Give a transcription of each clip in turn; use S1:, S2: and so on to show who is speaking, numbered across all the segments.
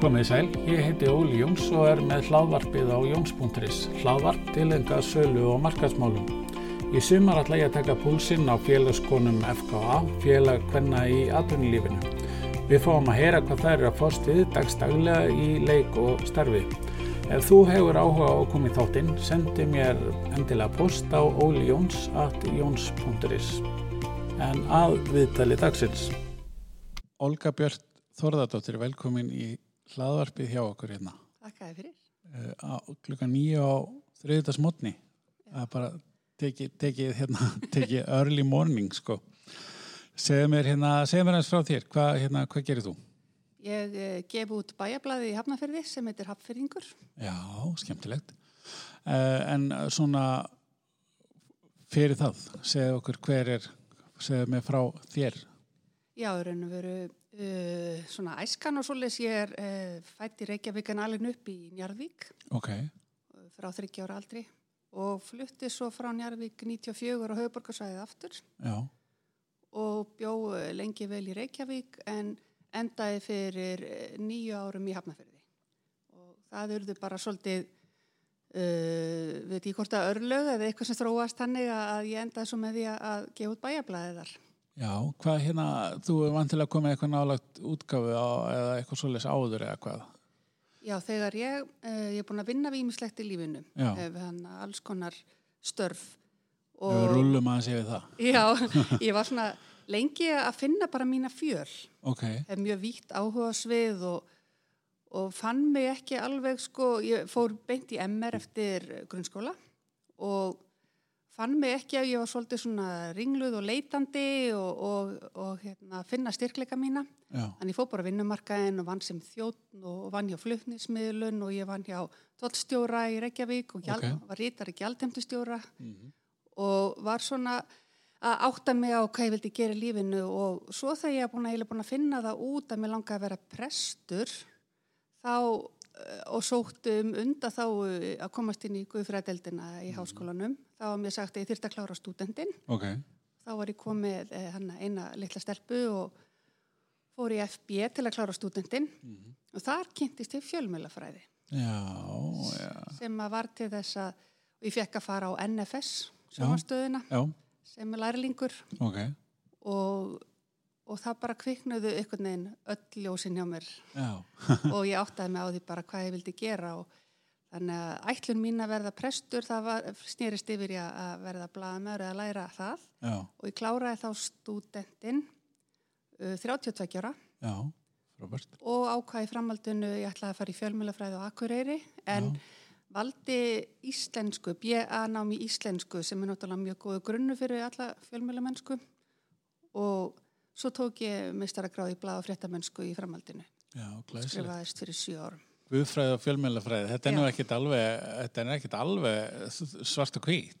S1: Komið sæl, ég heiti Óli Jóns og er með hlaðvarpið á jóns.is, hlaðvarp tilengað sölu og markaðsmálum. Í sumar ætla ég að taka púlsinn á félagskonum FKA, félag hvenna í atvinnulífinu. Við fáum að heyra hvað þær eru að fást við dagstaglega í leik og starfi. Ef þú hefur áhuga á að koma í þáttinn, sendi mér endilega post á ólijóns.jóns.is. En að viðtali dagsins. Olga Björn Þorðardóttir, velkomin í hlaðvarpið hjá okkur hérna.
S2: Takk að þið fyrir.
S1: Eh, á- Klukkan nýju á þriðutarsmotni. Það er bara tekið teki, hérna, teki early morning, sko. Segðu mér hérna, segðu mér hans frá þér, hvað hérna, hva gerir þú?
S2: Ég eh, gef út bæjablaði í Hafnarferði sem heitir Hafnferðingur.
S1: Já, skemmtilegt. Uh, en svona fyrir það, segðu okkur hver er, segðu mér frá þér.
S2: Já, í raun og veru uh, svona æskan og svoleiðis ég er uh, fætt í Reykjavík en alveg upp í Njarðvík
S1: Ok,
S2: eh, frá 30 ára aldri og flutti svo frá Njarðvík 94 á Hauðborgarsvæðið aftur
S1: já,
S2: og bjó eh, lengi vel í Reykjavík en endaði fyrir eh, níu árum í Hafnarferði. Og það urðu bara svolítið, uh, við veit ég hvort að örlög eða eitthvað sem þróast hannig að að ég endaði svo með því að- að gefa út bæjablaðið þar.
S1: já, hvað hérna, þú er vantilega komið eitthvað nálagt útgáfu á, eða eitthvað svoleiðis áður eða hvað?
S2: Já, þegar ég, uh, ég er búin að vinna við ímislegt í lífinu,
S1: Já.
S2: ef hann alls konar störf.
S1: Við
S2: Og,
S1: rúllum aðeins yfir það.
S2: já, ég var svona lengi að finna bara mína fjöl.
S1: Ok,
S2: hef mjög vítt áhuga svið og, og fann mig ekki alveg sko, ég fór beint í MR eftir grunnskóla og fann mig ekki að ég var svolítið svona ringluð og leitandi og, og, og hérna, finna styrkleika mína.
S1: já,
S2: Þannig ég fór bara vinnumarkaðin og vann sem þjóttn og vann hjá flutnismiðlun og ég vann hjá tóllstjóra í Reykjavík og gjald,
S1: Ok.
S2: var rítari gjaldheimtustjóra Mhm. og var svona að átta mig á hvað ég vildi gera í lífinu og svo þegar ég er búin að, eiginlega búin að finna það út að mér langa að vera prestur þá eh, og sótt um unda þá að komast inn í guðfræðdeldina
S1: Mm.
S2: í háskólanum þá var mér sagt að ég þyrfti að klára stúdendin
S1: ok,
S2: þá var ég komið eh, hann eina litla stelpu og fór í FB til að klára stúdendin og þar kynntist ég fjölmjölafræði
S1: já, já,
S2: sem að var til þess að og ég fekk að fara á NFS sjónastöðina
S1: já,
S2: sem er lærlingur
S1: ok,
S2: og, og það bara kviknuðu einhvern veginn öll ljósin hjá mér
S1: já,
S2: og ég áttaði mig á því bara hvað ég vildi gera og þannig að ætlun mín að verða prestur það var, snýrist yfir ég að verða blaðamör eða læra það
S1: já,
S2: og ég kláraði þá stúdentinn uh, 32 ára
S1: já, Robert,
S2: og ákvaði framhaldinu ég ætlaði að fara í fjölmjölafræði á Akureyri en valdi íslensku, BA nám í íslensku sem er náttúrulega mjög góðu grunnu fyrir alla fjölmjölamennsku og svo tók ég meistaragráð í blað og fréttamennsku í framhaldinu
S1: já, glæsilegt.
S2: skrifaðist fyrir sjö árum.
S1: Guðfræði og fjölmjölafræði, þetta er nú
S2: Já.
S1: ekkit alveg, þetta er ekkit alveg s- svart og hvít.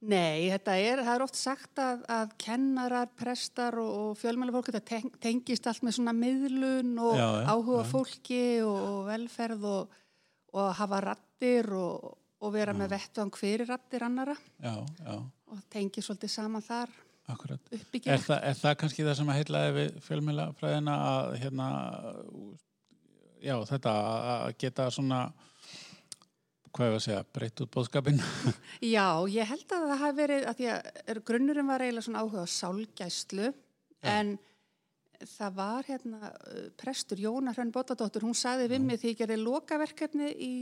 S2: Nei, þetta er, það er oft sagt að, að kennarar, prestar og, og fjölmjölafólk þetta teng, tengist allt með svona miðlun og
S1: Já, já,
S2: áhuga fólki og, og velferð og, og hafa rattir og, og vera með vettvang fyrir rattir annara
S1: Já, já,
S2: og tengi svolítið saman þar
S1: akkurat. Er,
S2: uppbyggjum.
S1: þa, er það kannski það sem að heillaði við fjölmjölafræðina að hérna, já, þetta að að geta svona, hvað ég var að segja, breytt út bóðskapin?
S2: Já, ég held að það hafi verið, að því að er- grunnurinn var eiginlega svona áhuga á sálgæslu en það var hérna uh, prestur Jóna Hrönn Bóttadóttur, hún sagði við mig því ég gerði lokaverkefni í,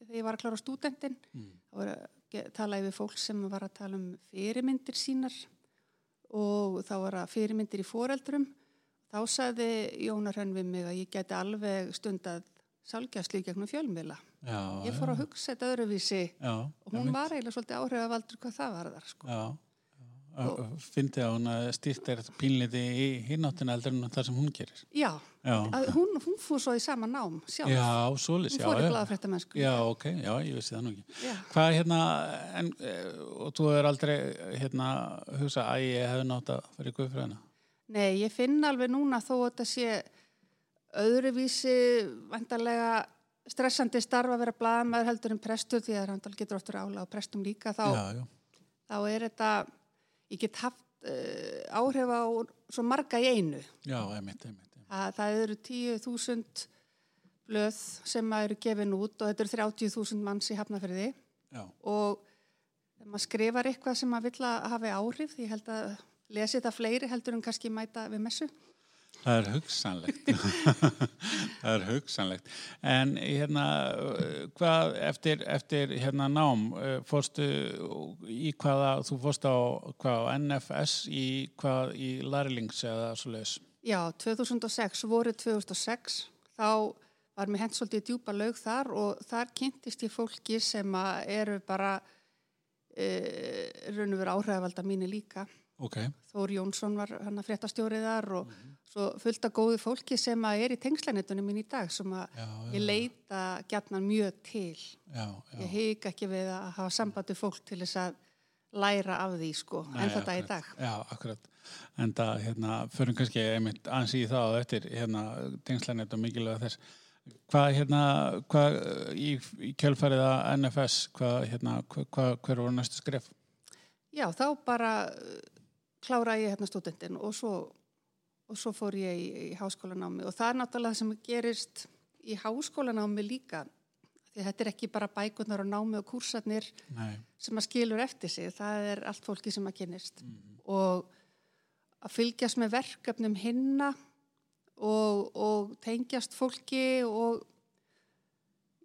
S2: þegar ég var að klára á stúdentin, þá var að ge- tala yfir fólk sem var að tala um fyrirmyndir sínar og þá var að fyrirmyndir í foreldrum þá sagði Jóna Hrönn við mig að ég geti alveg stundað sálgæslu í gegnum fjölmila
S1: Já,
S2: ég fór að hugsa þetta öðruvísi
S1: já,
S2: og hún var eiginlega svolítið áhrifavaldur hvað það var þar sko.
S1: Já, já. fyndi að hún að stýrt er pínliti í hinnáttina heldur en það sem hún gerir.
S2: Já,
S1: Já,
S2: að hún, hún fór svo í sama nám sjálf,
S1: já svolis,
S2: hún
S1: já.
S2: fór í
S1: já.
S2: blaðafrættamennsku.
S1: Já, ok, já, ég vissi það nú ekki.
S2: Já.
S1: Hvað hérna, en, eh, og þú er aldrei hérna hugsa að ég hefði nátt að fara í guðfræðina?
S2: Nei, ég finn alveg núna þó að þetta sé öðruvísi vandarlega stressandi starf að vera blaðamaður heldur en prestur því að hann getur oft rála á prestum líka þá,
S1: Já, já,
S2: þá er þetta, ég get haft uh, áhrif á svo marga í einu
S1: já, einmitt, einmitt. einmitt.
S2: að það eru 10.000 blöð sem að eru gefin út og þetta eru 30.000 manns í hafnafyrði
S3: já,
S2: og þegar maður skrifar eitthvað sem maður vill að hafi áhrif því ég held að lesi þetta fleiri heldur en kannski mæta við messu.
S1: Það er hugsanlegt. það er hugsanlegt. En hérna, eh, hvað eftir, eftir hérna nám, eh, fórstu í hvaða, þú fórst á, hvað, á NFS í hvað, í Larlings eða svo leiðis?
S2: Já, 2006, voru 2006, þá var mér hent svolítið í djúpa laug þar og þar kynntist ég fólki sem að eru bara e, raun og veru áhrifalda mínu líka.
S1: Ok,
S2: Þór Jónsson var hann að fréttastjórið þar og
S1: Mhm.
S2: svo fullt að góðu fólki sem að er í tengslanettunum mín í dag sem að
S1: Já, já,
S2: ég leita gjarnan mjög til.
S1: já, já.
S2: Ég hig ekki við að hafa sambandi fólk til þess að læra af því sko,
S1: Nei,
S2: en þetta í
S1: akkurat.
S2: dag.
S1: Já, akkurat. En það, hérna, förum kannski einmitt aðeins í það á eftir, hérna, tengslanett og mikilvæg þess. Hvað, hérna, hvað eh, í, í kjölfærið að NFS, hvað, hérna, hvað, hvað, hver voru næstu skref?
S2: Já, þá bara uh, kláraði ég hérna stúdendin og svo, og svo fór ég í, í háskólanámi og það er náttúrulega það sem gerist í háskólanámi líka. Því að þetta er ekki bara bækurnar og námi og kúrsarnir
S1: Nei,
S2: sem maður skilur eftir sig, það er allt fólki sem maður kynnist
S1: Mhm.
S2: og að fylgjast með verkefnum hinna og, og tengjast fólki og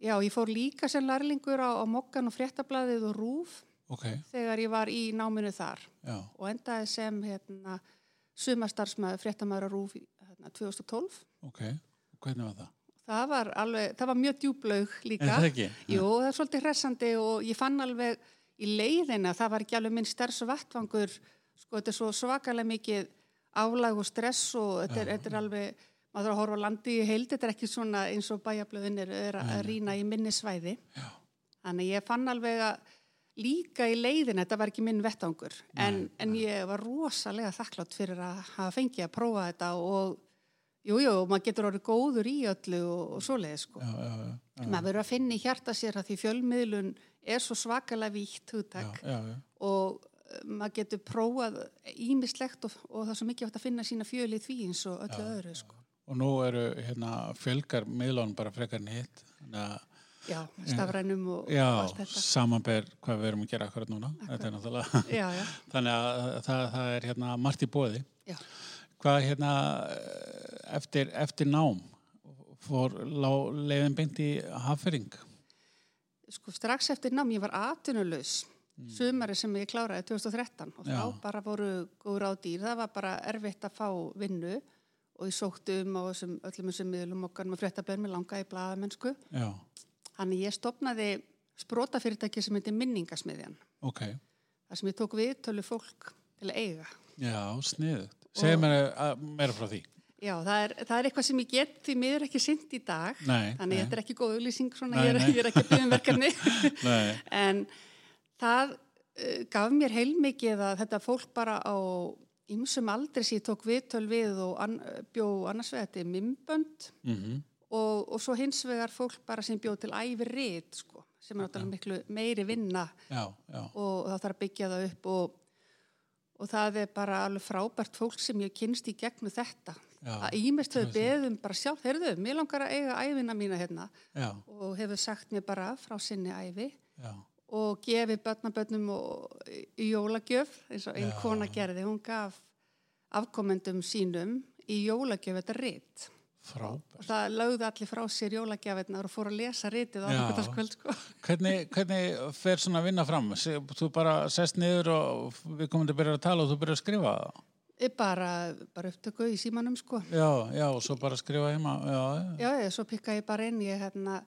S2: já, ég fór líka sem lærlingur á, á Mokkan og Fréttablaðið og Rúf
S1: ok,
S2: þegar ég var í náminu þar
S1: já,
S2: og endaði sem hérna, sumarstarfsmaður Fréttamæður og Rúf í, hérna, 2012
S1: ok. Hvernig var það?
S2: það var, alveg, það var mjög djúblaug líka
S1: Er það ekki?
S2: Jú, það er svolítið hressandi og ég fann alveg í leiðina, það var ekki alveg minn stærst vattvangur, sko, þetta er svo svakalega mikið álag og stress og þetta er, þetta er alveg, maður þarf að horfa á landi í heild, þetta er ekki svona eins og bæjablöðin er, er að rýna í minni svæði. Já. Þannig ég fann alveg að líka í leiðina, þetta var ekki minn vettvangur, en, en ég var rosalega þakklátt fyrir að hafa fengið að prófa þetta og Jú, jú, og maður getur orðið góður í öllu og, og svoleiði sko.
S1: Já, já, já,
S2: Maður verður að finna í hjarta sér að því fjölmiðlun er svo svakalega vítt hugtak
S1: já, já,
S2: og eh, maður getur prófað ímislegt og, og það er svo mikið hægt að finna sína fjöli í því eins og öllu öðru sko.
S1: Og nú eru, hérna, fjölgar miðlun bara frekar en hitt. Þannig að,
S2: Já, stafrænum og,
S1: já,
S2: og allt þetta.
S1: samanber hvað við erum að gera akkurat núna. Þetta er náttúrulega,
S2: Já, já,
S1: þannig að það, það er, hérna, margt í bóði.
S2: já.
S1: Hvað hérna eh, eftir, eftir nám fór lá, leiðin beint í haffering?
S2: Sko strax eftir nám, ég var atvinnulegs sumari sem ég kláraði 2013 og
S1: Mm. Já.
S2: þá bara voru góður á dýr. Það var bara erfitt að fá vinnu og ég sótti um á þessum, öllum þessum miðlum okkar með fréttabjörn með langa í blaðamennsku.
S1: Já,
S2: Þannig ég stopnaði sprótafyrirtæki sem heitir minningasmiðjan.
S1: ok.
S2: þar sem ég tók viðtölu fólk til að eiga.
S1: Já, sniðugt. Segðu mér að- meira frá því.
S2: Já, það er, það er eitthvað sem ég get því miður ekki sinnt í dag.
S1: Nei,
S2: Þannig
S1: nei.
S2: þetta er ekki góð auðlýsing svona,
S1: Nei,
S2: ég, er,
S1: nei.
S2: ég er ekki að byggja um verkefni.
S1: Nei,
S2: en það uh, gaf mér heilmikið að þetta fólk bara á ymsum aldri sem ég tók viðtöl við og an, bjó annars vegar þetta er mimbönd
S1: mm
S2: og, og svo hins vegar fólk bara sem bjó til æfi rít, sko, sem er náttúrulega miklu meiri vinna
S1: já, já,
S2: og það þarf að byggja það upp og, og það er bara alveg frábært fólk sem ég kynst í gegnum þetta.
S1: Já.
S2: Að ímest höfðu beðum um bara sjálf, heyrðu, mér langar að eiga æfina mína hérna
S1: já,
S2: og hefur sagt mér bara frá sinni æfi
S1: já,
S2: og gefið börnabönnum og í jólagjöf, eins og einn
S1: Já.
S2: kona gerði, hún gaf afkomendum sínum í jólagjöf þetta ritt
S1: frábært.
S2: og það lögði allir frá sér jólagjafinnar og fór að lesa ritið á
S1: Já.
S2: aðvitaðskvöld sko.
S1: Hvernig, hvernig fer svona vinna fram? Se- Þú bara sest niður og við komum til að byrja að tala og þú byrjar að skrifa það.
S2: bara, bara upptöku í símanum sko.
S1: Já, já, og svo bara skrifa heima. Já,
S2: Já, já, svo pikka ég bara inn, ég hérna,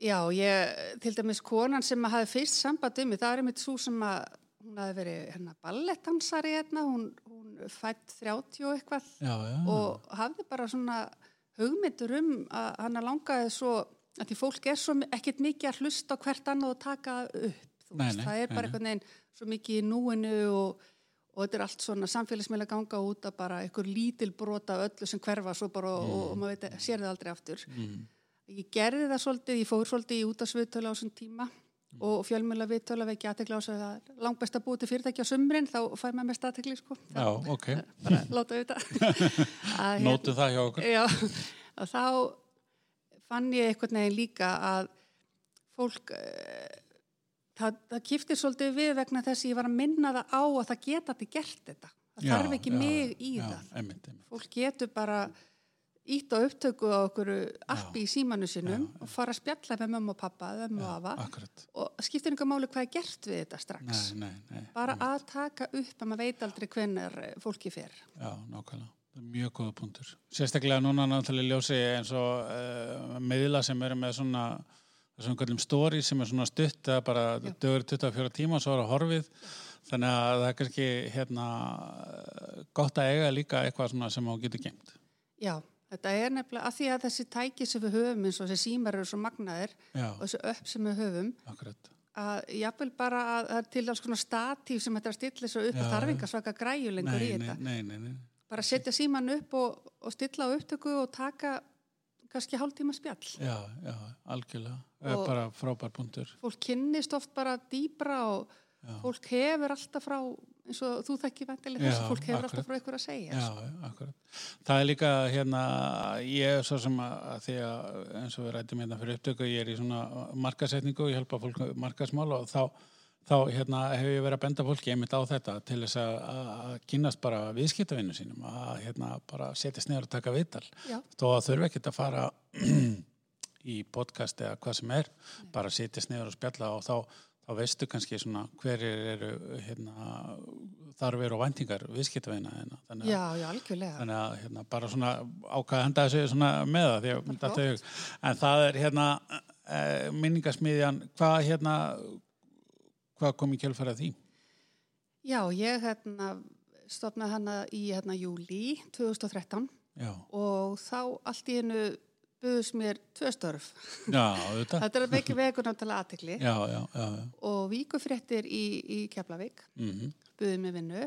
S2: já, ég, til dæmis konan sem að hafi fyrst samband um mig, það er einmitt svo sem að hún hafi verið hérna ballettansari hérna, hún, hún fætt 30 og eitthvað
S1: já, já.
S2: og hafði bara svona hugmyndur um að hann langaði svo, að því fólk er svo mi- ekkit mikið að hlusta á hvert annað og taka upp, þú
S1: Nei,
S2: veist,
S1: nei,
S2: það er bara
S1: nei, nei.
S2: einhvern veginn svo mikið í núinu og og þetta er allt svona samfélagsmiðla ganga út að bara einhver lítil brota öllu sem hverfa svo bara og, og maður veit, sér það aldrei aftur.
S1: Mm.
S2: Ég gerði það svolítið, ég fór svolítið í útasviðtölu á þessum tíma og fjölmjöla viðtölu að vekja aðtekla á þess að það er langt best að búið til fyrirtæki á sumrin, þá fæ maður mest aðtekli, sko.
S1: Já, ok.
S2: Bara láta við þetta.
S1: Nótu það hjá okkur.
S2: Já, og hérna- þá fann ég einhvern veginn líka að fólk, eh, það, það kiptir svolítið við vegna þess að ég var að minna það á að það geta allir gert þetta. Það
S1: Já,
S2: þarf ekki
S1: já,
S2: mig í
S1: já,
S2: það.
S1: Einmitt, einmitt.
S2: Fólk getur bara ítt á upptöku á okkur appi í símanu sinum og fara að spjalla með mömmu og pappa, mömmu og afa
S1: Akkurat.
S2: og það skiptir einhver máli hvað er gert við þetta strax.
S1: Nei, nei, nei.
S2: bara að taka upp að maður veit aldrei hvenar fólki fer.
S1: Já, nákvæmlega. Það er mjög góða punktur. Sérstaklega núna náttúrulega í ljósi eins og uh, miðla sem eru með svona svona kallum stóri sem er svona stutt að bara dögur 24 tíma og svo er það horfið þannig að það er kannski hérna eh, gott að eiga líka eitthvað svona sem hún getur geimt.
S2: Já, þetta er nefnilega að því að þessi tæki sem við höfum eins og þessi símar eru svo magnaðir
S1: Já,
S2: og þessi upp sem við höfum
S1: akkurat.
S2: að jafnvel bara að það er til alls konar statíf sem þetta er að stilla svo upp
S1: Já,
S2: og
S1: já.
S2: þarf enga svaka græju
S1: Nei,
S2: lengur í
S1: nei,
S2: þetta.
S1: nei, nei, nei.
S2: Bara setja síman upp og, og stilla á upptöku og taka kannski hálftíma spjall.
S1: Já, já, algjörlega. Og,
S2: Og-
S1: bara frábær punktur.
S2: Fólk kynnist oft bara dýbra og fólk hefur alltaf frá, eins og þú þekki vantilega þess
S1: Já,
S2: að fólk hefur
S1: akkurat.
S2: alltaf frá ykkur að segja.
S1: Já, akkurat. Það er líka hérna, ég er svo sem að, að því að eins og við rættum hérna fyrir upptöku, ég er í svona markasetningu og ég hjálpa fólk með markasmál og þá, þá hérna, hefur ég verið að benda fólki einmitt á þetta til þess að, að, að kynast bara viðskiptavinnu sínum, að hérna, bara setjast neður og taka viðtal.
S2: Já.
S1: Þó að þurfa ekkert að fara í podcast eða hvað sem er, bara setjast neður og spjalla og þá þá veistu kannski svona hverjir eru hérna, þarfir og væntingar viðskiptavina þeirna. Þannig að
S2: já, já algjörlega.
S1: þannig að hérna, bara svona ákvaða henda þessu svona með það því að mér datt það í hug. en það er hérna e, minningasmiðjan hvað hérna hvað kom í kjölfæra því
S2: Já, ég hérna, stofnaði hana í hérna, júli 2013
S1: já,
S2: og þá allt í hennu buðust mér tvö störf.
S1: já, auðvitað
S2: Þetta er að vekja vegur náttúrulega aðtekli
S1: já, já, já, já.
S2: og víkufréttir í, í Keflavík
S1: Mm
S2: buðið mér vinnu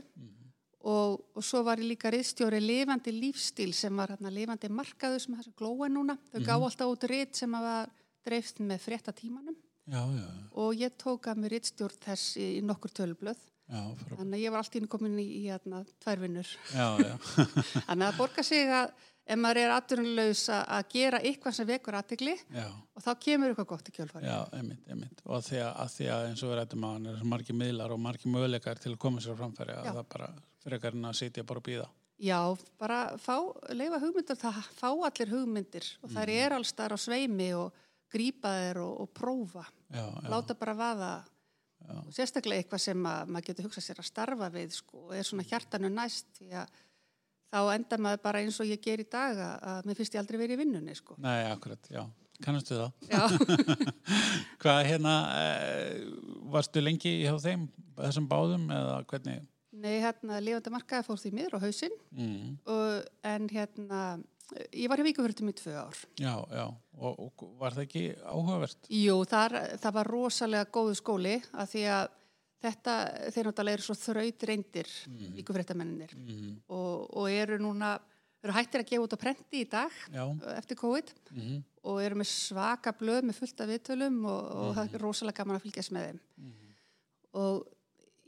S2: og, og svo var ég líka riðstjóri lifandi lífstíl sem var hérna lifandi markaðu sem þessi glóa núna. Þau mm gá alltaf út rít sem að var dreift með fréttatímanum
S1: já, já,
S2: og ég tók að mér riðstjórn þess í, í nokkur tölblöð.
S1: já, frá,
S2: Þannig að ég var allt í hennu komin í, í hérna, tvær vinnur.
S1: já, já.
S2: Þannig að það borgar sig að ef maður er atvinnulegs að gera eitthvað sem vekur aðtegli
S1: já
S2: og þá kemur eitthvað gott í kjölfari.
S1: Já, einmitt, einmitt. Og því að, að því að eins og við rættum að hann er svo margir miðlar og margir möguleikar til að koma sér á framfæri að
S2: Já.
S1: það bara frekar en að sitja bara og býða.
S2: Já, bara fá, leifa hugmyndir, það fá allir hugmyndir og þær
S1: Mhm.
S2: er alls þar á sveimi og grípa þeir og, og prófa.
S1: Já, já.
S2: Láta bara vaða og sérstaklega eitthvað sem að, maður getur hugsað sér að starfa við sko, og er svona hjartanu næst því að þá endar maður bara eins og ég ger í dag að, að mér finnst ég aldrei verið í vinnunni sko.
S1: Nei, akkurat, já. Kannastu það?
S2: Já.
S1: Hvað hérna, e, varstu lengi hjá þeim, þessum báðum eða hvernig?
S2: Nei, hérna, lifandi markaði fór því miður á hausinn
S1: Mm.
S2: og, en hérna, ég var hjá Víkufjörðum í tvö ár.
S1: Já, já, og, og var það ekki áhugavert?
S2: Jú, þar, það var rosalega góðu skóli að því að þetta, þeir náttúrulega eru svo þraut reyndir mm. Víkufjörðamennir
S1: Mm.
S2: og, og eru núna, eru hættir að gefa út á prenti í dag
S1: Já,
S2: eftir COVID
S1: mm.
S2: og eru með svaka blöð með fullt af viðtölum og, og það er rosalega gaman að fylgjast með þeim og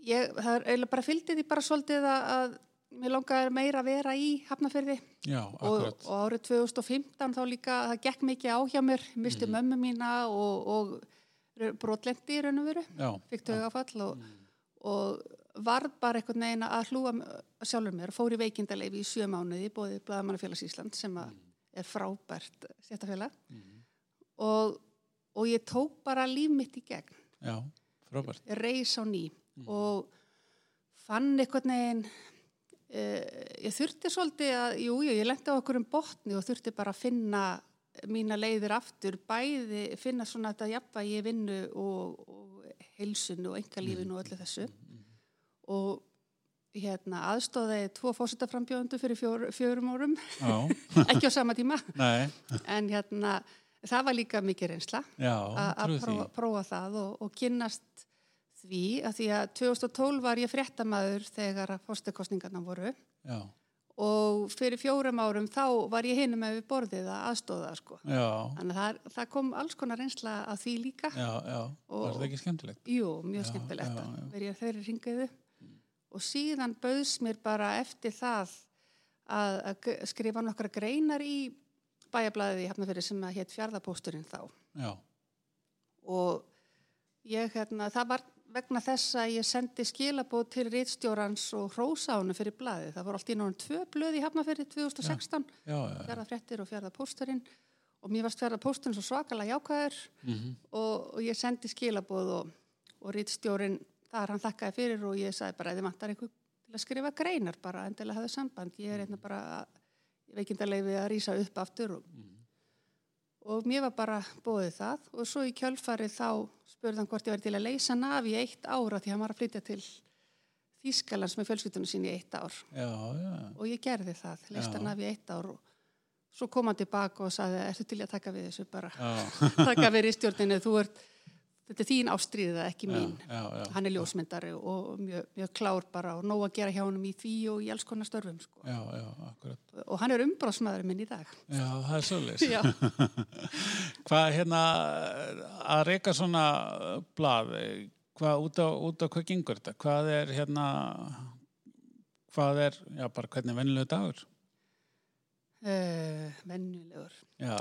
S2: ég, það er eiginlega bara fylgdi því bara svolítið að, að mér langaði meira að vera í Hafnafyrði
S1: já,
S2: og,
S1: akkurat.
S2: og árið 2015 þá líka það gekk mikið á hjá mér,
S1: Mhm.
S2: misti mömmu mína og, og brotlendi í raun og veru,
S1: já, Mm,
S2: fikk tögafall og, og varð bara einhvern veginn að hlúa m- sjálfur mér, fór í veikindaleif í sjö mánuði, bóði Blaðamannafélags Ísland sem
S1: Mhm.
S2: að er frábært stjættafélag
S1: mm.
S2: og, og ég tók bara líf mitt í gegn
S1: já, frábært. Mm.
S2: reis á ný og fann einhvern veginn uh, ég þurfti svolítið að, jú, jú, ég lendi á okkur um botni og þurfti bara að finna mína leiðir aftur, bæði finna svona þetta jafnvægi í vinnu og, og heilsunu og engalífinu og öllu þessu og hérna aðstóði tvo fósitaframbjóðundu fyrir fjór, fjórum árum
S1: Já,
S2: ekki á sama tíma
S1: nei,
S2: en hérna það var líka mikið reynsla
S1: já,
S2: a-
S1: trú
S2: að
S1: því.
S2: prófa, prófa það og, og kynnast því að því að 2012 var ég fréttamaður þegar að fórstakostningarna voru
S1: Já,
S2: og fyrir fjórum árum þá var ég hinum með við borðið að aðstóða sko.
S1: já,
S2: Þannig að það, það kom alls konar reynsla að því líka.
S1: já, já,
S2: Og-
S1: var það ekki skemmtilegt?
S2: Jú, mjög
S1: Já,
S2: skemmtilegt
S1: já,
S2: að
S1: já.
S2: verið þeirri ringiðu og síðan bauðs mér bara eftir það að, að g- skrifa nokkra greinar í bæjablaðið í Hafnafyrir sem að hétt fjárðapósturinn þá
S1: já,
S2: og ég, hérna, það var vegna þess að ég sendi skilabóð til rítstjórans og hrósa honum fyrir blaðið. Það voru allt í náttúrulega tvö blöð í Hafnafyrir 2016,
S1: já, já, já,
S2: fjárðafréttir og fjárðapósturinn og mér varst fjárðapósturinn svo svakalega jákvæður
S1: mhm,
S2: og, og ég sendi skilabóð og, og rítstjórin þar hann þakkaði fyrir og ég sagði bara að þið vantar einhver til að skrifa greinar bara endilega hafðu samband ég er einna bara veikindalegi við að rýsa upp aftur og, og mér var bara bóðið það og svo í kjölfarið þá spurði hann hvort ég væri til að leysa hann af í eitt ára því hann var að flytja til Þýskalands með fjölskyldunum sín í eitt ár
S1: já, já,
S2: og ég gerði það, leyst
S1: Já.
S2: hann af í eitt ár og svo kom hann tilbaka og sagði ertu til í að taka við þessu bara
S1: já,
S2: taka við ristjórninu, þú ert þetta er þín ástríða, ekki mín
S1: já, já,
S2: hann er ljósmyndari og mjög, mjög klár bara og nóg að gera hjá honum í því og í alls konar störfum sko.
S1: já, já, akkurat.
S2: og hann er umbróðsmaður minn í dag
S1: Já, það er svolítið.
S2: Já.
S1: Hvað hérna, að reyka svona blað, hvað út á, út á hvað gengur þetta? Hvað er hérna, hvað er, já, bara hvernig vennilega dagur?
S2: uh, mennulegur
S1: Já,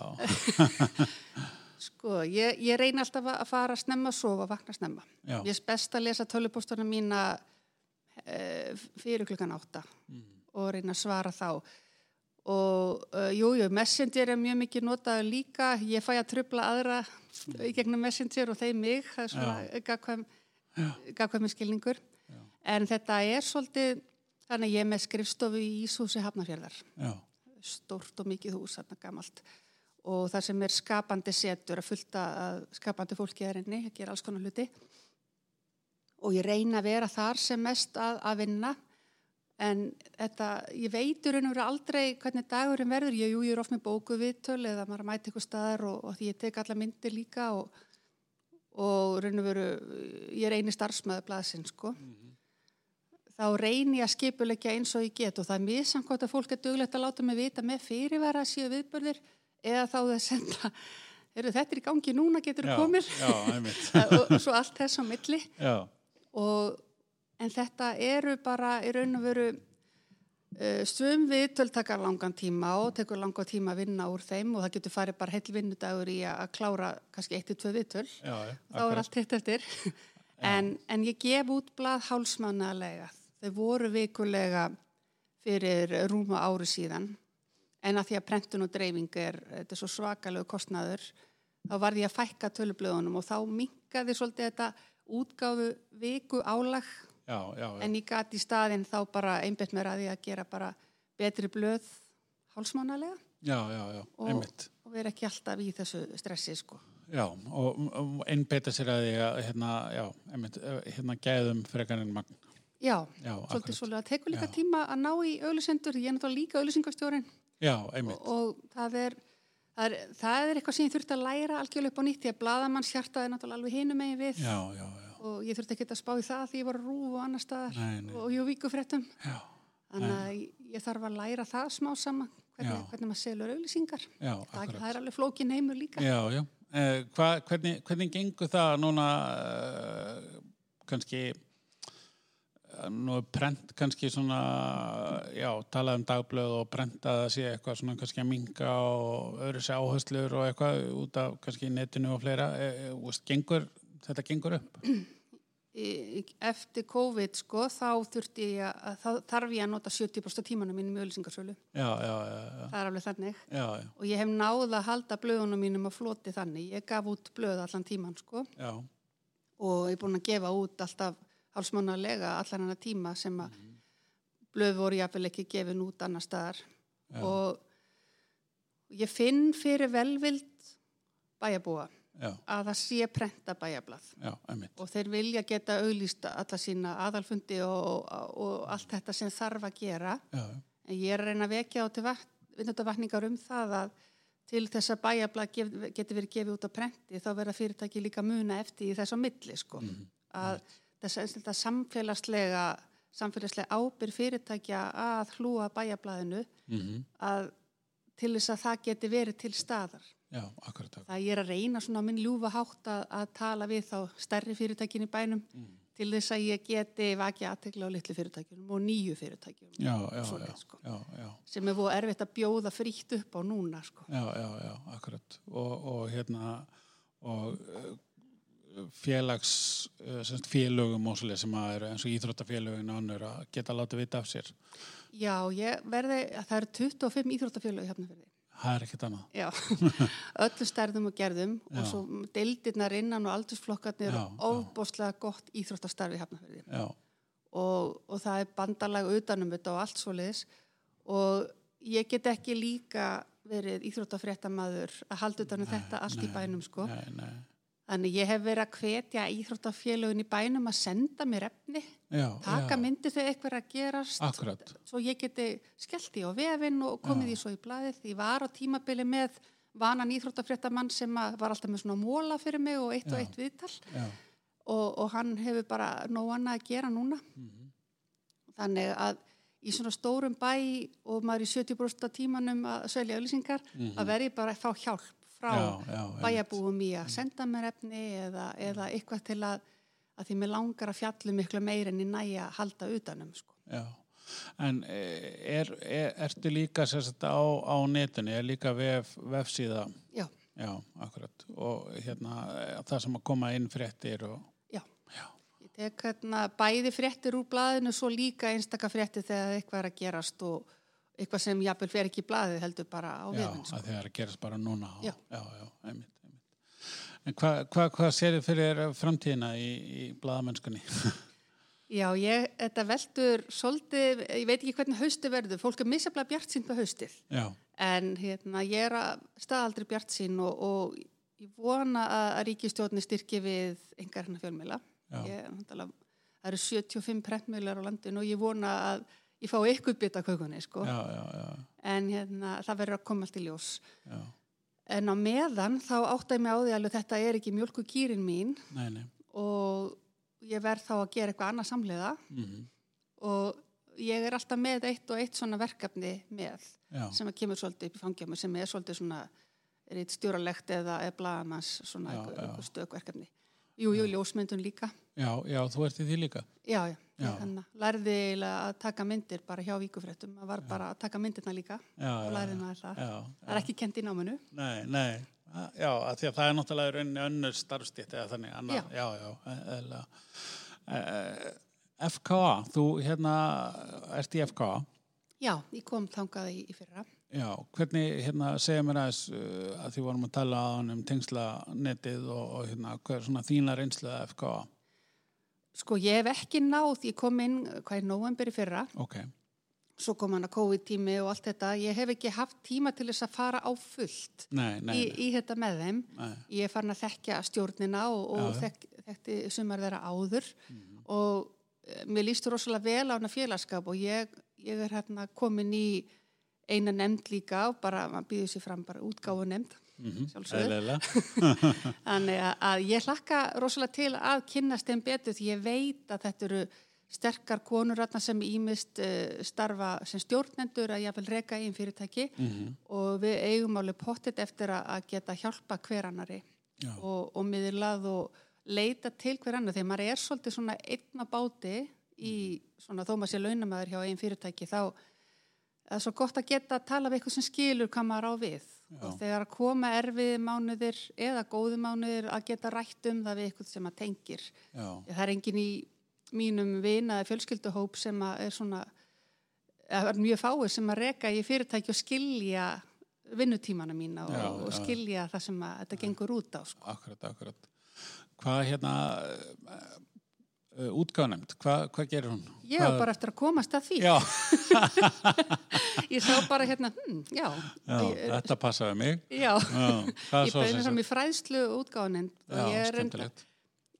S2: sko, ég, ég reyna alltaf að fara snemma að sofa, vakna snemma
S1: já,
S2: ég er best að lesa tölupóstunum mína uh, fyrir klukkan átta og reyna að svara þá og uh, jú, jú, Messenger er mjög mikið notað líka ég fæ að trubla aðra í gegnum Messenger og þeim mig það er svona gagkvæm, gagkvæmi skilningur en þetta er svolítið þannig að ég er með skrifstofu í Íshúsi Hafnarfjörðar
S1: já,
S2: stórt og mikið hús, þarna gamalt og það sem er skapandi setur að fullta að skapandi fólki er inni að gera alls konar hluti og ég reyna að vera þar sem mest að, að vinna en þetta, ég veitur en vera aldrei hvernig dagurinn verður, ég, jú, ég er oft með bóku viðtöl eða maður mæti eitthvað staðar og, og því ég tek alla myndir líka og, og raun og veru ég er eini starfsmöðu blaðsinn sko þá reyni ég að skipulegja eins og ég get og það er misankvæmt að fólk er duglegt að láta mig vita með fyrirvara síðu viðbörðir eða þá það senda eru þetta er í gangi núna, getur
S1: já,
S2: þú komin
S1: já, einmitt,
S2: og svo allt þess á milli
S1: já,
S2: og, en þetta eru bara í raun og veru uh, sum viðtöl taka langan tíma og tekur langan tíma að vinna úr þeim og það getur farið bara heil vinnudagur í að að klára kannski eitt til tvö viðtöl
S1: já,
S2: og þá er allt hitt eftir en, en ég gef út blað hálsmannalega þau voru vikulega fyrir rúma ári síðan en að því að prentun og dreifing er þetta er svo svakalegu kostnaður þá varði ég að fækka tölublöðunum og þá minkaði svolítið þetta útgáfu viku álag
S1: já, já, já,
S2: en ég gat í staðinn þá bara einbett mér að ég að gera bara betri blöð hálsmannalega
S1: já, já, já,
S2: og,
S1: einmitt.
S2: og vera ekki alltaf í þessu stressi sko.
S1: Já, og um, einbeita sér að því að hérna, já, einmitt, hérna gæðum frekar en magn.
S2: Já,
S1: Já, akkurat.
S2: svolítið svolítið. Það tekur líka
S1: Já.
S2: tíma að ná í auðlisendur, ég er náttúrulega líka auðlisengastjórin
S1: Já, einmitt,
S2: og það er, það er, það er eitthvað sem ég þurfti að læra algjörlega upp á nýtt því að bladamanns hjartað er náttúrulega alveg hinum megin við
S1: já, já, já,
S2: og ég þurfti ekki að spá í það því ég var á rúf og annar staðar
S1: Nei, nei.
S2: og ég víku fréttum.
S1: já,
S2: Þannig að ég þarf að læra það smá saman, hvernig,
S1: Já.
S2: hvernig maður selur auðlisingar.
S1: já,
S2: Það,
S1: akkurat.
S2: það er alveg flókin heimur líka.
S1: Já, já. Eh, hva, hvernig, hvernig gengur það núna eh, kannski eh, nú er prent kannski svona já, talað um dagblöð og prent að það sé eitthvað svona kannski að minga og öðru sér áherslur og eitthvað út af kannski netinu og fleira eh, eh, úst, gengur, þetta gengur upp
S2: Í- í- Eftir COVID sko, þá, þurfti ég að, þá þarf ég að nota 70% tímanum mínum í auðlisingarsölu.
S1: Já, já, já, já,
S2: Það er alveg þannig.
S1: já, já,
S2: og ég hef náð að halda blöðunum mínum að floti þannig. Ég gaf út blöð allan tíman sko
S1: já,
S2: og ég er búin að gefa út alltaf hálsmánalega allan hana tíma sem að blöð voru jáfnvel ekki gefin út annar staðar og ég finn fyrir velvild bæjabúa
S1: já,
S2: að það sé prenta bæjablað
S1: já, einmitt,
S2: og þeir vilja geta auglýst alla sína aðalfundi og, og, og allt þetta sem þarf að gera
S1: já, já,
S2: En ég er að reyna að vekja á til vinnutavatningar um það að til þess að bæjabla geti verið gefið út á prenti þá verða fyrirtæki líka að muna eftir í þess á milli sko. Að þess að þetta samfélagslega, samfélagslega ábyrð fyrirtækja að hlúa bæjablaðinu
S1: mhm,
S2: að til þess að það geti verið til staðar.
S1: já, akkurat, akkurat,
S2: Það ég er að reyna svona á minn ljúfa hátt að, að tala við þá stærri fyrirtækin í bænum til þess að ég geti vakið aðtekla á litlu fyrirtækjunum og nýju fyrirtækjunum
S1: já, já,
S2: og
S1: já,
S2: svoleið, sko.
S1: já, já.
S2: sem er fóð erfitt að bjóða frítt upp á núna sko.
S1: Já, já, já, akkurat og, og hérna og eh, félags eh, sem sagt, félögum og svolítið sem að eru eins og íþróttafélögin og annur að geta látið vita af sér
S2: Já, ég verði, það eru 25 íþróttafélög hérna fyrir því.
S1: það er ekkert annað
S2: Já, öllu stærðum og gerðum og
S1: Já.
S2: svo deildirnar innan og aldursflokkarnir
S1: Já,
S2: og óbóðslega gott íþróttastarfi hafnafyrði
S1: já,
S2: og, og það er bandalag utanum þetta og allt svo leiðis og ég get ekki líka verið íþróttafréttamaður að halda utanum þetta allt í bænum sko.
S1: nei, nei
S2: Þannig ég hef verið að hvetja íþróttafélögin í bænum að senda mér efni,
S1: já, já,
S2: taka myndir þegar eitthvað er að gerast
S1: akkurat
S2: svo ég geti skellt því á vefinn og komið því svo í blæðið. Ég var á tímabili með vanan íþróttafréttamann sem að var alltaf með svona móla fyrir mig og eitt
S1: Já.
S2: og eitt viðtal
S1: já,
S2: og, og hann hefur bara nóg annað að gera núna.
S1: Mhm.
S2: Þannig að í svona stórum bæ og maður í 70% af tímanum að svelja auðlýsingar að verði bara að fá hjálp frá
S1: Mhm. já, já, einmitt. Mhm.
S2: bæjabúum í að senda mér efni eða, eða eitthvað til að, að því mér langar að fjallu miklu meir en ég næja að halda utanum sko.
S1: já En eh, er, er, ertu líka sem sagt, á, á netinu, er líka vef, vefsíða,
S2: Já,
S1: já, akkurat, og hérna, eh, það sem að koma inn fréttir og,
S2: já.
S1: já,
S2: Ég tek hérna bæði fréttir úr blaðinu svo líka einstaka fréttir þegar eitthvað er að gerast og eitthvað sem jafnvel fer ekki í blaðið heldur bara á
S1: Já,
S2: vefinn. Sko.
S1: að það er að gerast bara núna. á-
S2: Já.
S1: Já, já, einmitt, einmitt. En hvað hva, hva sér þið fyrir þér framtíðina í, í blaðamennskunni?
S2: Já, ég, þetta veldur svolítið, ég veit ekki hvernig hausti verður, fólk er misjaflega bjart sín på haustið.
S1: já,
S2: En hérna, ég er að staðaldri bjart sín og, og ég vona að að ríkistjórni styrki við engar hennar fjölmiðla.
S1: Já.
S2: Ég, náttúrulega, það eru 75 prentmiðlar á landinu og ég vona að ég fá eitthvað bita kökunni, sko.
S1: já, já, já,
S2: En hérna, það verður að koma allt í ljós.
S1: já,
S2: En á meðan þá átta ég mig á því alveg þetta er ekki mjölku kýrin mín
S1: nei, nei,
S2: og ég verð þá að gera eitthvað annað samlega
S1: mm
S2: og ég er alltaf með eitt og eitt svona verkefni með
S1: já,
S2: sem að kemur svolítið upp í fangjámi sem er svolítið svona reitt stjóralegt eða eða blaðamanns svona
S1: Já,
S2: eitthvað-
S1: já.
S2: eitthvað stök verkefni. Jú, jú, ljósmyndun líka.
S1: já, já, þú ert í því líka.
S2: Já, já.
S1: Já.
S2: Þannig lærði eiginlega að taka myndir bara hjá víkufréttum. Það var bara að taka myndirna líka
S1: Já,
S2: og
S1: já,
S2: lærði
S1: já,
S2: maður það.
S1: já,
S2: Það er ekki kent í náminu.
S1: nei, nei, a- já, að því að það er náttúrulega í rauninni önnur starfstítt eða þannig, annar, já, já, e, já eðla. e, FKA, þú hérna, ert í FKA?
S2: Já, ég kom þangað í, í fyrra.
S1: Já, hvernig, hérna, segja mér aðeins uh, að því vorum að tala á hann um tengslanetið og, og hérna, hver er svona þína reynsla af FKA?
S2: Sko ég hef ekki náð, ég kom inn eh, hvað er november í fyrra,
S1: Ok,
S2: svo kom hann að COVID-tími og allt þetta, ég hef ekki haft tíma til þess að fara á fullt
S1: nei, nei,
S2: í,
S1: nei,
S2: í þetta með þeim.
S1: nei.
S2: Ég er farin að þekka stjórnina og, og
S1: Já, Mhm. já.
S2: þekk, þekkti sumar þeirra áður og eh, mér líst rosalega vel á hana félagskap og ég, ég er hérna komin í eina nefnd líka og bara, maður býður sér fram bara útgáfu nefnd, sjálfsögðu.
S1: Mhm, Eðlilega.
S2: Þannig að, að ég hlakka rosalega til að kynnast þeim betur því ég veit að þetta eru sterkar konur þarna sem ímist uh, starfa sem stjórnendur að jáfnvel reka einn fyrirtæki og við eigum alveg pottet eftir að, að geta hjálpa hver annari
S1: Já.
S2: og, og miðurlað og leita til hver annar þegar maður er svolítið svona einn á báti í
S1: Mm.
S2: svona þó maður sé launamæður hjá einn fyrirtæki þá það er svo gott að geta að tala við eitthvað sem skilur hvað maður á við og þegar að koma erfið mánuðir eða góðu mánuðir að geta rætt um það við eitthvað sem að tengir
S1: Já,
S2: það er engin í mínum vina eða fjölskylduhóp sem að er svona eða er mjög fáið sem að reka í fyrirtæki og skilja vinnutímana mína og,
S1: Já,
S2: og
S1: já.
S2: skilja það sem að þetta gengur út á sko.
S1: akkurat, akkurat. Hvað hérna, uh, útgáðnæmt, hvað, hvað gerir hún?
S2: ég
S1: hvað,
S2: var bara eftir að komast að því
S1: Já,
S2: ég sá bara hérna, hm, já
S1: já þetta passaði mig.
S2: já,
S1: Já, hvað
S2: ég
S1: svo sem
S2: bauði fram
S1: sagt?
S2: í fræðslu og útgáðuninn og
S1: Já,
S2: ég er enda,
S1: skemmtilegt.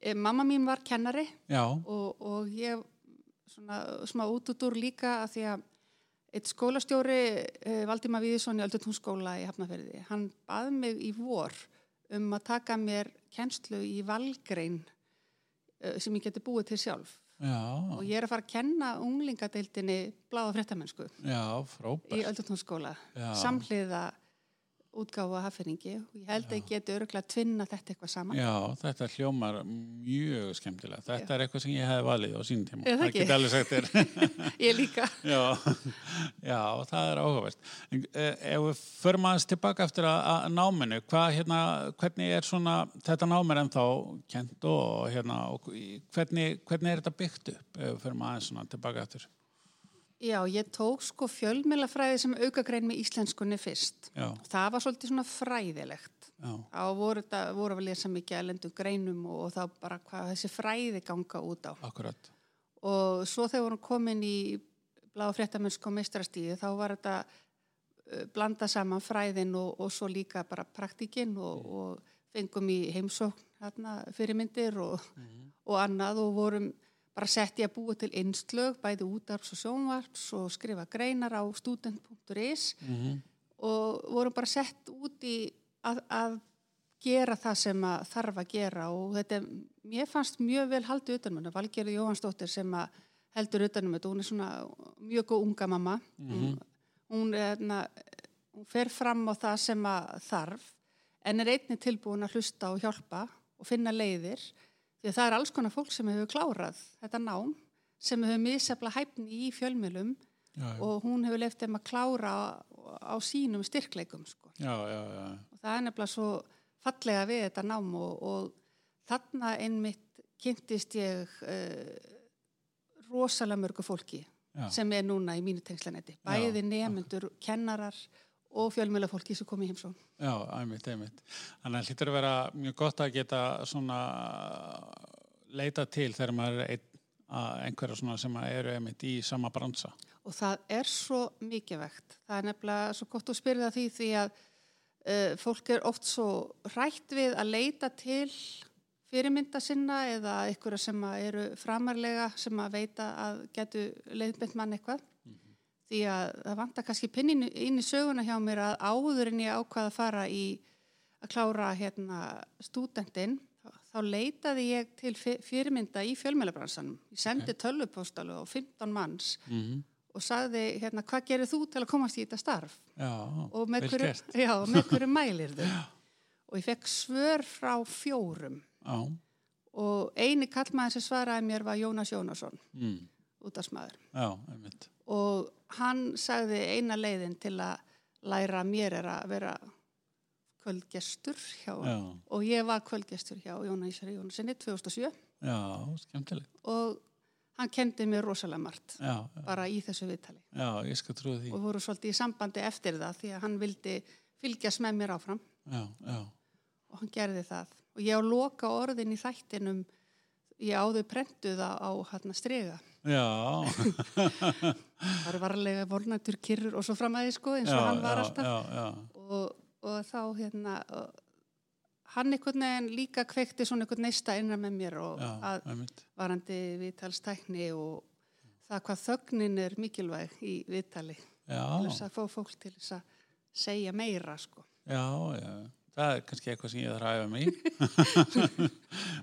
S2: Eh, mamma mín var kennari
S1: Já,
S2: og, og ég svona smá út út úr líka að því að eitt skólastjóri eh, Valdimar Víðisson í Öldutún skóla í Hafnaferði, hann bað mig í vor um að taka mér kennslu í valgrein eh, sem ég geti búið til sjálf
S1: já,
S2: og ég er að fara að kenna unglingadeildinni bláða fréttamennsku
S1: já,
S2: í
S1: frábært.
S2: Öldutún skóla
S1: Já.
S2: samhliða útgáfa haffinningi og ég held að ég geti öruglega tvinna þetta eitthvað saman.
S1: Já, þetta hljómar mjög skemmtilega. Þetta er eitthvað sem ég hefði valið á sínum tíma.
S2: Er það ekki?
S1: geti alveg sagt þér.
S2: Ég líka.
S1: já, já, það er áhugavert. En, eh, Ef við förum aðeins tilbaka eftir að, að náminu, hvað, hérna, hvernig er svona, þetta námir ennþá kent og, hérna, og í- hvernig, hvernig er þetta byggt upp ef við förum aðeins svona tilbaka eftir?
S2: Já, ég tók sko fjölmilafræði sem aukagrein með íslenskunni fyrst.
S1: Já,
S2: Það var svolítið svona fræðilegt.
S1: já,
S2: Á voru, þetta, voru að lesa mikið að lendu greinum og, og þá bara hvað þessi fræði ganga út á.
S1: akkurat.
S2: Og svo þegar vorum komin í blá fréttamennsk og mistrastíði þá var þetta eh, blanda saman fræðin og, og svo líka bara praktikinn og, og fengum í heimsókn hérna, fyrirmyndir og, og annað og vorum bara sett í að búa til innslög bæði útarps og sjónvarps og skrifa greinar á student.is
S1: Mm
S2: og vorum bara sett út í að, að gera það sem að þarf að gera og þetta, er- mér fannst mjög vel haldið um utanum þetta, Valgerði Jóhansdóttir sem að heldur utanum þetta, hún er svona mjög góð unga mamma hún, hún, er þarna- hún fer fram á það sem að þarf en er einnig tilbúin að hlusta og hjálpa og finna leiðir því að það er alls konar fólk sem hefur klárað þetta nám sem hefur misjafla hæfni í fjölmjölum
S1: já, já.
S2: og hún hefur leift þeim að klára á, á sínum styrkleikum sko.
S1: já, já, já.
S2: og það er nefnilega svo fallega við þetta nám og, og þarna einmitt kynntist ég uh, rosalega mörgu fólki
S1: Já.
S2: sem er núna í mínu tengslanetti bæði nemyndur, kennarar og fjölmjöla fólki sem kom í heimsón
S1: Já, einmitt, einmitt. Þannig að hlýtur að vera mjög gott að geta svona leita til þegar maður er ein, að einhverja svona sem að eru einmitt í sama bransa.
S2: og það er svo mikilvægt það er nefnilega svo gott að spyrja því því að uh, fólk er oft svo hrætt við að leita til fyrirmynda sinna eða einhverja sem að eru framarlega sem að veita að getu leiðbent mann eitthvað því að það vantar kannski pinninu inn í söguna hjá mér að áður en ég ákvað að fara í að klára hérna stúdendin þá leitaði ég til fyr- fyrirmynda í fjölmjölabransanum. Ég sendi okay. tölvupóstalu á 15 manns
S1: Mm -hmm.
S2: og sagði hérna hvað gerir þú til að komast í þetta starf
S1: Já,
S2: og með,
S1: vel
S2: hverju,
S1: gert.
S2: já, og með hverju mælir þau og ég fekk svör frá fjórum
S1: Já,
S2: og eini kallmaður sem svaraði mér var Jónas Jónasson
S1: mm.
S2: útastmaður
S1: já, einmitt.
S2: og hann sagði eina leiðin til að læra mér er að vera kvöldgestur hjá
S1: Já,
S2: og ég var kvöldgestur hjá Jónasari Jónasinni 2007
S1: já, skemmtilegt.
S2: og hann kendi mér rosalega margt
S1: Já, já,
S2: bara í þessu viðtali
S1: já, ég skal trúi því.
S2: og voru svolítið í sambandi eftir það því að hann vildi fylgjast með mér áfram
S1: Já, já,
S2: og hann gerði það og ég á loka orðin í þættinum ég áður prentuð á, á hérna strega
S1: já,
S2: það eru varlega vornandur kyrrur og svo framæði sko eins og
S1: já,
S2: hann var
S1: já,
S2: alltaf
S1: já, já,
S2: og, og þá hérna og, hann einhvern veginn líka kveikti svona einhvern neista innra með mér og
S1: já,
S2: að
S1: einmitt.
S2: varandi viðtalstækni og það hvað þögnin er mikilvæg í viðtali
S1: Já,
S2: til þess að fá fólk til þess að segja meira sko
S1: já, já. Það er kannski eitthvað sem ég þarf að æfa mig. í.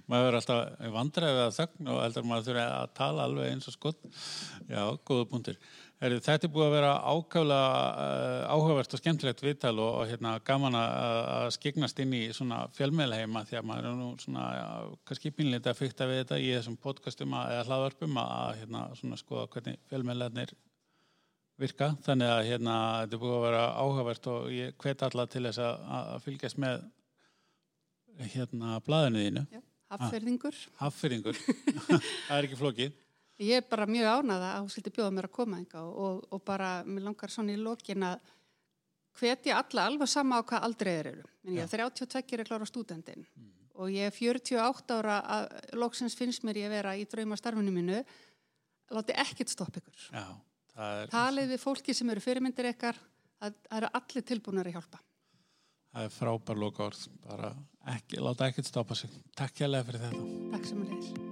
S1: maður er alltaf vandræðið að þögn og heldur maður þurfi að tala alveg eins og skott. Já, góða punktur. Heri, þetta er búið að vera ákaflega uh, áhugavert og skemmtilegt viðtal og, og hérna, gaman að- að að skiknast inn í svona fjölmeðleima því að maður er nú svona já, kannski pínleita að fykta við þetta í þessum podcastum að, eða hlaðvarpum að- að hérna, svona, skoða hvernig fjölmeðleirnir virka, þannig að hérna þetta er búið að vera áhugavert og ég hvet alla til þess að, að fylgjast með hérna blaðinu þínu
S2: hafferðingur
S1: haffyrringur, það er ekki flókið
S2: Ég er bara mjög ánaða að hún skildi bjóða mér að koma enga og, og bara, mér langar svona í lokin að hvetja alla alveg sama á hvað aldrei þeir eru. En ég er 32 er klára stúdendin og ég er 48 ára að loksins finnst mér ég vera í draumastarfinu mínu. Láti ekkert stopp ykkur.
S1: já, það er,
S2: Talið við fólki sem eru fyrirmyndir ykkar, það það eru allir tilbúinari að hjálpa.
S1: það er frábær lokaord bara ekki, láta ekkert stoppa sig takk hérlega fyrir þetta
S2: Takk sem að leiðis.